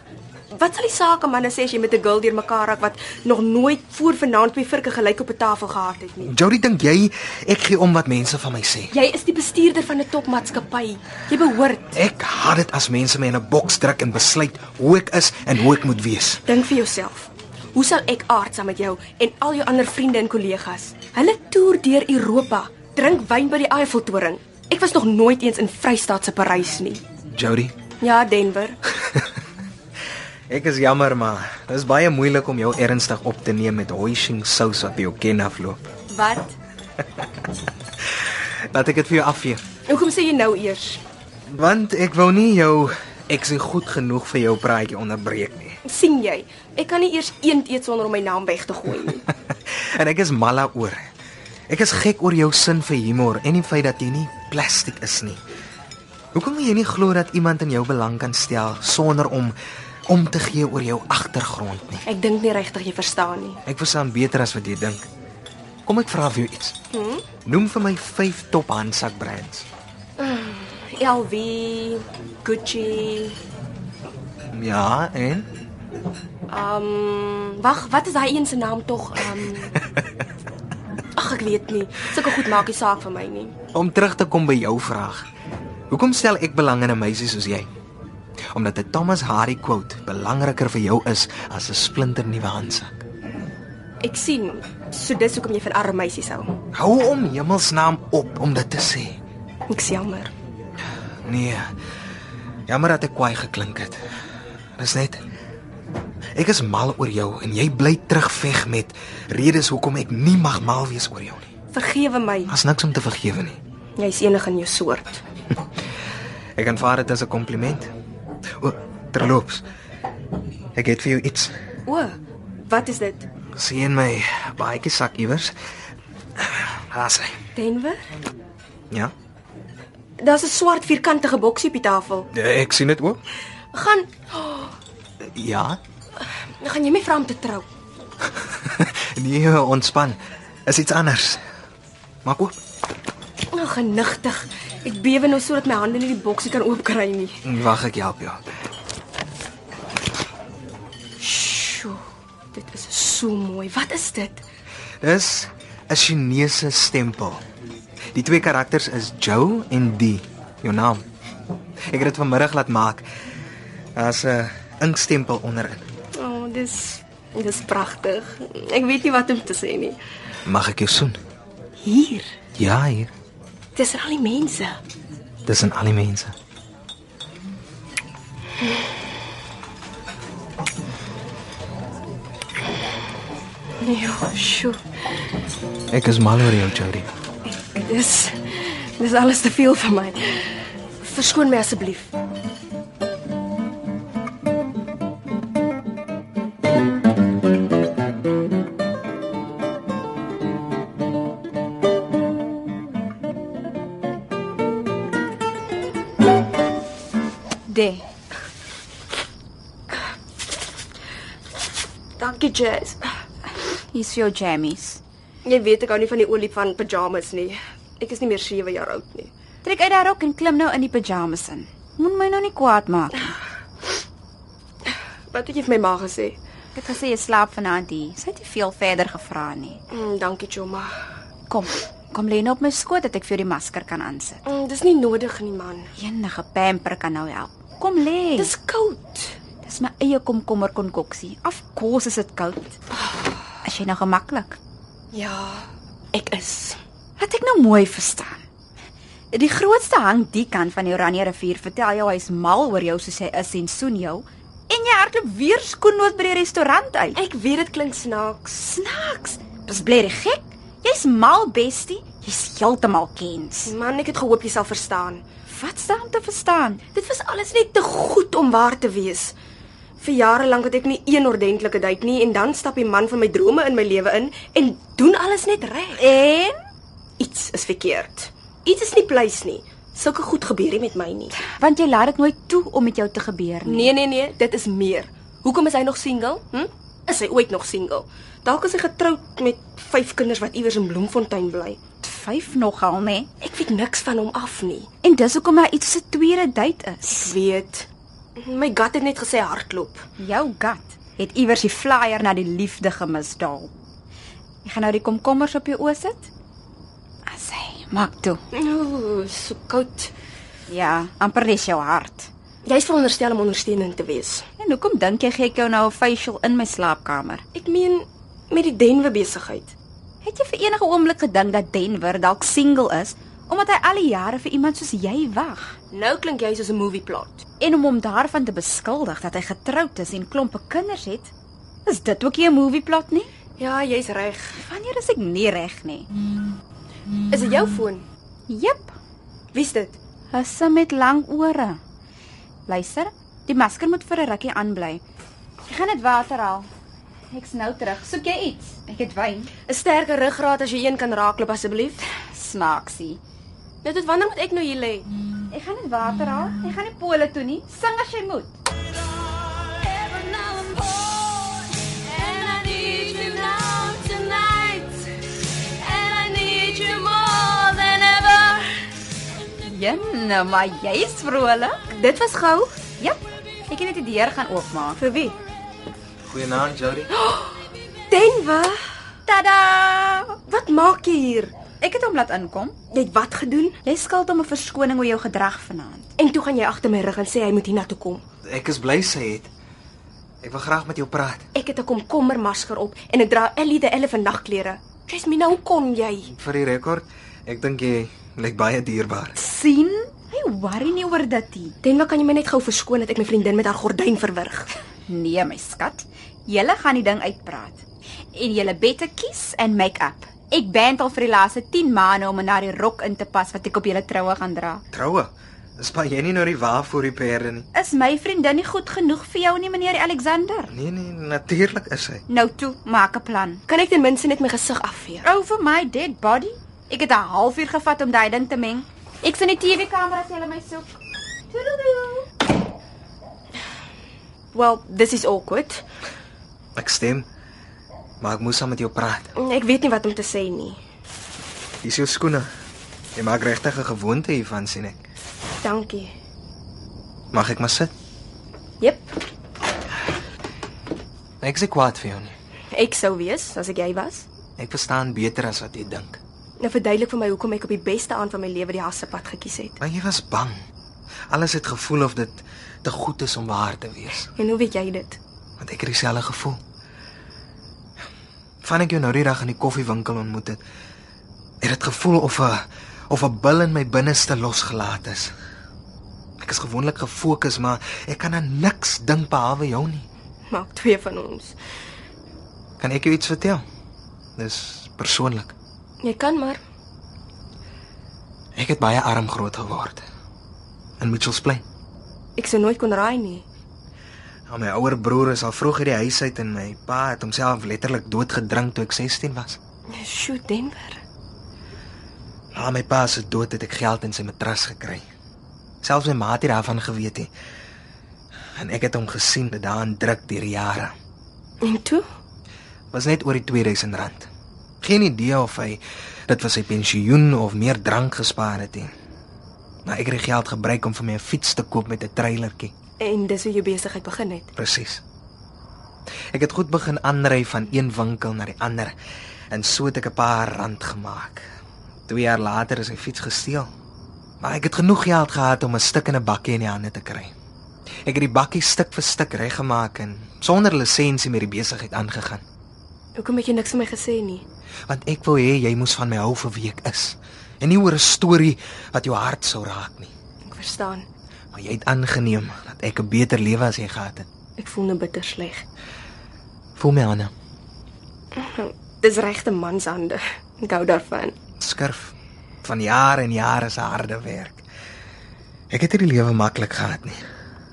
Wat sal die saak aan manne sê as jy met 'n girl deur mekaar raak wat nog nooit voor vanaand twee virke gelyk op 'n tafel gehad het nie?
Jody, dink jy ek gee om wat mense van my sê?
Jy is die bestuurder van 'n topmaatskappy. Jy behoort.
Ek haat dit as mense my in 'n boks druk en besluit hoe ek is en hoe ek moet wees.
Dink vir jouself. Hoe sal ek aard saam met jou en al jou ander vriende en kollegas? Hulle toer deur Europa, drink wyn by die Eiffeltoring. Ek was nog nooit eens in Vrystaat se Parys nie.
Jody,
Ja, Denver.
ek is jammer maar dit is baie moeilik om jou ernstig op te neem met hoishing sous wat by jou ken afloop.
Wat?
Laat ek dit vir jou afvee.
Hoekom sê jy nou eers?
Want ek wou nie jou ek sien goed genoeg vir jou praatjie onderbreek nie.
sien jy, ek kan nie eers eend eet sonder om my naam weg te gooi nie.
en ek is mal oor. Ek is gek oor jou sin vir humor en die feit dat jy nie plastiek is nie. Hoekom wil jy nie glo dat iemand in jou belang kan stel sonder om om te gee oor jou agtergrond nie?
Ek dink nie regtig jy verstaan nie.
Ek verstaan beter as wat jy dink. Kom ek vra vir jou iets. Hmm? Noem vir my 5 top handsak brands.
LV, Gucci.
Ja, en
Ehm, um, wag, wat is daai een se naam tog? Ehm um, Ag, ek weet nie. Sulke goed maak nie saak vir my nie.
om terug te kom by jou vraag. Hoekom stel ek belang in 'n meisie soos jy? Omdat 'n Thomas Hardy quote belangriker vir jou is as 'n splinternuwe handsak.
Ek sien. So dis hoekom jy van arme meisies hou.
Hou om hemelsnaam op om dit te sê.
Ek is jammer.
Nee. Jammer dat ek kwaai geklink het. Dis net ek is mal oor jou en jy bly terugveg met redes hoekom ek nie mag mal wees oor jou nie.
Vergewe my.
Daar's niks om te vergewe nie.
Jy's enig in jou soort.
Ek aanvaar dit as 'n kompliment. O, terloops. Ek het vir jou iets.
O, wat is dit?
Sien my baadjie sak iewers. Daar sê.
Denver?
Ja.
Daar's 'n swart vierkantige boksie op die tafel.
Ek sien dit ook.
Gaan,
Ja.
gaan jy my vra om te trou?
Nee, ontspan. Is iets anders. Maak oop.
Nou genigtig. Ek bewe nou sodat my hande nie die boksie kan oopkry nie.
Wag, ek help jou.
Sjoe. Dit is so mooi. Wat is dit?
Dis 'n Chinese stempel. Die twee karakters is Joe en Di, jou naam. Ek het dit vanmiddag laat maak. Daar's 'n inkstempel onderin.
O, oh, dis dis pragtig. Ek weet nie wat om te sê nie.
Mag ek jou soen?
Hier.
Ja, hier.
Dis er al die mense.
Tussen al die mense.
Nee, sjoe.
Ek is mal oor jou, Jody.
Dis dis alles te veel vir my. Verskoon my asseblief.
De.
Dankie, Jess.
Hier's vir jou jammies.
Jy weet ek hou nie van die olie van pyjamas nie. Ek is nie meer 7 jaar oud nie.
Trek uit daai rok en klim nou in die pyjamas in. Moet my nou nie kwaad maak. nie.
Wat het jy vir my ma gesê?
Ek het gesê jy slaap vanaand hier. Sy het nie veel verder gevra nie.
Mm, dankie, Choma.
Kom, kom lê nou op my skoot dat ek vir jou die masker kan aansit.
Mm, dis nie nodig nie, man.
Enige pamper kan nou help. Kom lê. Dis
Dis koud.
dis my eie komkommer konkoksie. Of course is dit koud. As jy nou gemaklik.
Ja, ek is.
Wat ek nou mooi verstaan. Die grootste hang die kant van die Oranje rivier vertel jou hy's mal oor jou soos hy is en soen jou en jy hardloop weer skoennoot by die restaurant uit.
Ek weet dit klink snaaks.
Snaaks. Dis blerrie gek. Jy's mal bestie. Jy's heeltemal kens.
Man, ek het gehoop jy sal verstaan.
Wat staan te verstaan?
Dit was alles net te goed om waar te wees. Vir jare lank het ek nie een ordentlike date nie en dan stap die man van my drome in my lewe in en doen alles net reg.
En
Iets is verkeerd. Iets is nie pleis nie. Sulke goed gebeur nie met my nie.
want jy laat dit nooit toe om met jou te gebeur nie.
Nee nee nee, dit is meer. Hoekom is hy nog single? Hm? Is hy ooit nog single? Dalk is hy getroud met vyf kinders wat iewers in Bloemfontein bly.
Vyf nogal, nê?
Ek weet niks van hom af nie.
En dis hoekom daar iets se tweede date is.
Ek weet. My gut het net gesê hardloop.
Jou gat het iewers die flyer na die liefde gemisdaal. Jy gaan nou die komkommers op jou oë sit? As hy maak toe.
Ooh, so koud.
Ja, amper dis jou hart.
Jy's veronderstel om ondersteuning te wees.
En hoekom dink jy gee ek jou nou 'n facial in my slaapkamer?
Ek meen met die Denwe besigheid.
Het jy vir enige oomblik gedink dat Denver dalk single is omdat hy al die jare vir iemand soos jy wag?
Nou klink jy soos 'n movieplaat.
En om hom daarvan te beskuldig dat hy getroud is en klompe kinders het, is dit ook nie 'n movieplot nie?
Ja, jy's reg.
Wanneer is ek nie reg nie?
Is dit jou foon?
Jep,
Wie's dit?
Husse met lang ore. Luister, die masker moet vir 'n rukkie aanbly. Ek gaan dit water haal. Ek's nou terug. Soek jy iets? Ek het wyn.
'n Sterker ruggraat as jy een kan raakloop asseblief.
Snaaksie.
Nou tot wanneer moet ek nou hier lê?
Ek gaan dit water haal. Ek gaan nie pole toe nie. Sing as jy moet.
Every now I'm bored, and I need you now tonight, and I need you more than ever.
Jenne, nou maar jy's vrolik.
Dit was gou.
Jep. Ek het net die deur gaan oopmaak.
Vir wie?
Goeienaand, Jody.
Denwe.
Tada!
Wat maak jy hier?
Ek het hom laat inkom.
Jy het wat gedoen?
Jy skuld hom 'n verskoning oor jou gedrag vanaand.
En toe gaan jy agter my rug en sê hy moet hiernatoe kom.
Ek is bly sy het. Ek wil graag met jou praat.
Ek het 'n komkommermasker op en ek dra Ellie the Elephant nagklere. Jasmine, hoe kom jy?
Vir die rekord, ek dink jy lyk baie dierbaar.
sien? Hy worry nie oor dit nie.
Denwe, kan jy my net gou verskoon dat ek my vriendin met haar gordyn verwrig?
Nee, my skat. Julle gaan die ding uitpraat. En julle bette kies en make-up. Ek band al vir die laaste 10 maande om na die rok in te pas wat ek op julle troue gaan dra.
Troue. Spaar jy nie nou die wa vir die perde nie?
Is my vriendin nie goed genoeg vir jou nie, meneer Alexander?
Nee nee, natuurlik is hy.
Nou toe, maak 'n plan.
Kan ek ten minste net my gesig afveer?
Over my dead body. Ek het 'n halfuur gevat om daai ding te meng. Ek's in die TV-kamera as julle my soek. Toedeloe.
Well, this is awkward.
Ek stem. Maar ek moes saam met jou praat.
Ek weet nie wat om te sê nie.
Dis jou skoene. Jy maak regtig 'n gewoonte hiervan sien ek.
Dankie.
Mag ek maar sit?
Jep,
Ek is nie kwaad vir jou nie.
ek sou wees as ek jy was.
Ek verstaan beter as wat jy dink.
Nou verduidelik vir my hoekom ek op die beste aand van my lewe die hassepad gekies het.
Maar jy was bang. Alles het gevoel of dit te goed is om waar te wees,
En hoe weet jy dit?
want ek het dieselfde gevoel. Van ek jou nou die dag in die koffiewinkel ontmoet het, het dit gevoel of 'n of 'n bil in my binneste losgelaat is. Ek is gewoonlik gefokus, maar ek kan aan niks dink behalwe jou nie.
Maak twee van ons.
Kan ek jou iets vertel? Dis persoonlik.
Jy kan maar.
Ek het baie arm groot geword in Mitchells Plain.
Ek sou nooit kon raai nie.
Nou, my ouer broer is al vroeg uit die huis uit en my pa het homself letterlik doodgedrink toe ek 16 was.
Sjoe, Denver.
Na Ja, my pa se dood het ek geld in sy matras gekry. Selfs my ma het nie daarvan geweet nie. En ek het hom gesien met daarin druk deur die jare.
En toe?
Was net oor die R2000. Geen idee of hy dit was sy pensioen of meer drank gespaar het nie. Maar ek het die geld gebruik om vir my 'n fiets te koop met 'n treilertjie.
En dis hoe jou besigheid begin het.
Presies. Ek het goed begin aanry van een winkel na die ander en so het ek 'n paar rand gemaak. 2 jaar later is my fiets gesteel. Maar ek het genoeg geld gehad om 'n stuk in 'n bakkie in die hande te kry. Ek het die bakkie stuk vir stuk reggemaak en sonder lisensie met die besigheid aangegaan,
Hoekom het jy niks vir my gesê nie?
want ek wou hê jy moes van my hou vir wie ek is en nie oor 'n storie wat jou hart sou raak nie.
Ek verstaan.
Maar jy het aangeneem dat ek 'n beter lewe as jy gehad het.
Ek voel nou bitter sleg.
Voel my aan.
Dis regte mans hande. Ek hou daarvan.
skurf van jare en jare se harde werk. Ek het hierdie lewe maklik gehad nie.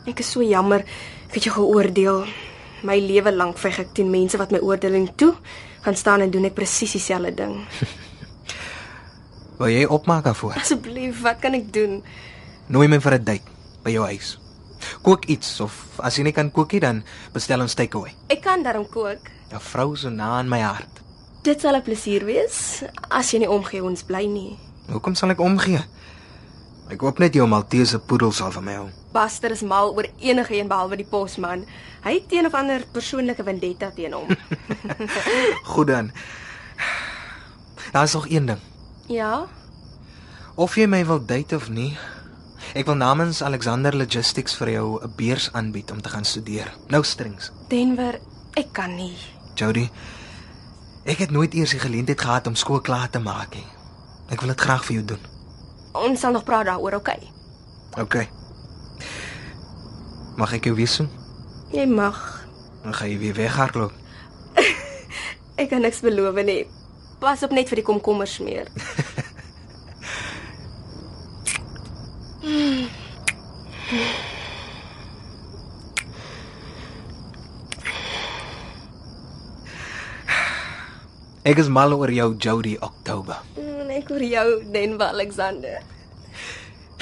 Ek is so jammer ek het jou geoordeel. My lewe lank veg ek teen mense wat my oordeling toe gaan staan en doen ek presies dieselfde ding.
Wil jy opmaak daarvoor?
Asseblief, wat kan ek doen?
Nooi my vir 'n date by jou huis. Kook iets of as jy nie kan kook nie, dan bestel ons takeaway.
Ek kan daarom kook.
'n Vrou so na aan my hart.
Dit sal 'n plesier wees as jy nie omgee ons bly nie.
Hoekom sal ek omgee? Ek hoop net jou Maltese poedel sal van my hou.
Buster is mal oor enige een behalwe die posman. Hy het een of ander persoonlike vendetta teen hom.
Goed dan. Daar is nog een ding.
ja,
Of jy my wil date of nie, ek wil namens Alexander Logistics vir jou 'n beurs aanbied om te gaan studeer. Nou strings.
Denver, ek kan nie.
Jody, ek het nooit eers die geleentheid gehad om skool klaar te maak nie. Ek wil dit graag vir jou doen.
Ons sal nog praat daaroor, okay?
OK. Mag ek jou weer soen?
Jy mag.
Dan gaan jy weer weghardloop.
Ek kan niks beloof nie. Pas op net vir die komkommers meer.
Ek is mal oor jou Jody Oktober.
Mm, Ek oor jou, Denver Alexander.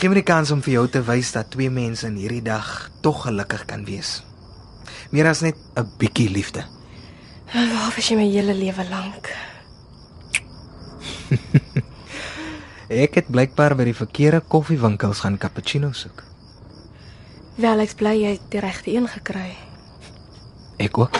Gee my die kans om vir jou te wys dat twee mense in hierdie dag tog gelukkig kan wees. Meer as net 'n bietjie liefde.
Waar was jy my hele lewe lank?
Ek het blykbaar by die verkeerde koffiewinkels gaan cappuccino soek.
Wel, ek bly jy het die regte een gekry.
Ek ook.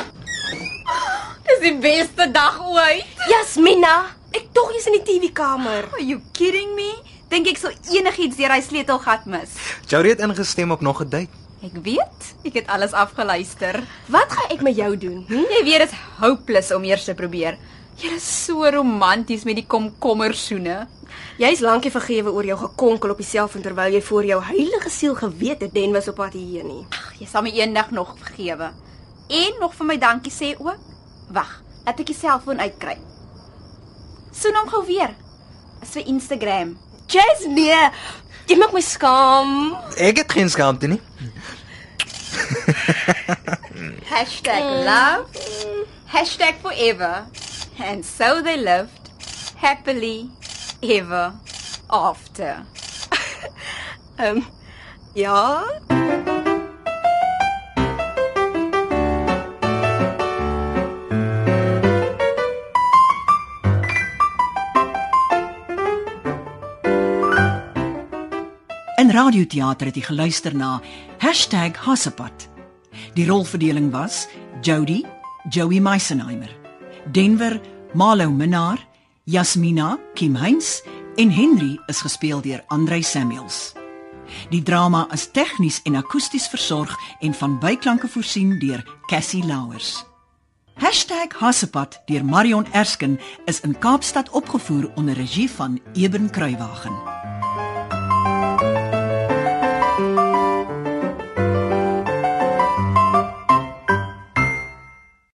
Dis die beste dag ooit.
Jasmina, ek tog jy's in die TV-kamer.
Are you kidding me? Dink ek sou enigiets deur hy sleutelgat mis.
Jody het ingestem op nog 'n date.
Ek weet, ek het alles afgeluister.
Wat gaan ek met jou doen? Hm?
Jy weet dit is hopeless om eers te probeer. Jy is so romanties met die komkommersoene.
Jy's lankie vergewe oor jou gekonkel op jouself en terwyl jy voor jou heilige siel geweet het Den was op pad hierheen nie.
Ag, jy sal my eendag nog vergewe. En nog vir my dankie sê ook. Wag, laat ek die selfoon uitkry. Soen hom gou weer. Is vir Instagram.
Jess, nee. Jy maak my skaam.
Ek het geen skaamte nie.
Mm.
#love #forever and so they lived happily ever after.
Ehm um, ja,
In radioteater het jy geluister na #Hassepot. Die rolverdeling was Jody, Joey Meisenheimer, Denver, Malo Minnar, Jasmina, Kim Heinz en Henry is gespeel deur Andrei Samuels. Die drama is tegnies en akoesties versorg en van byklanke voorsien deur Cassie Louwers. #Hassepot deur Marion Erskine is in Kaapstad opgevoer onder regie van Eben Kruiwagen.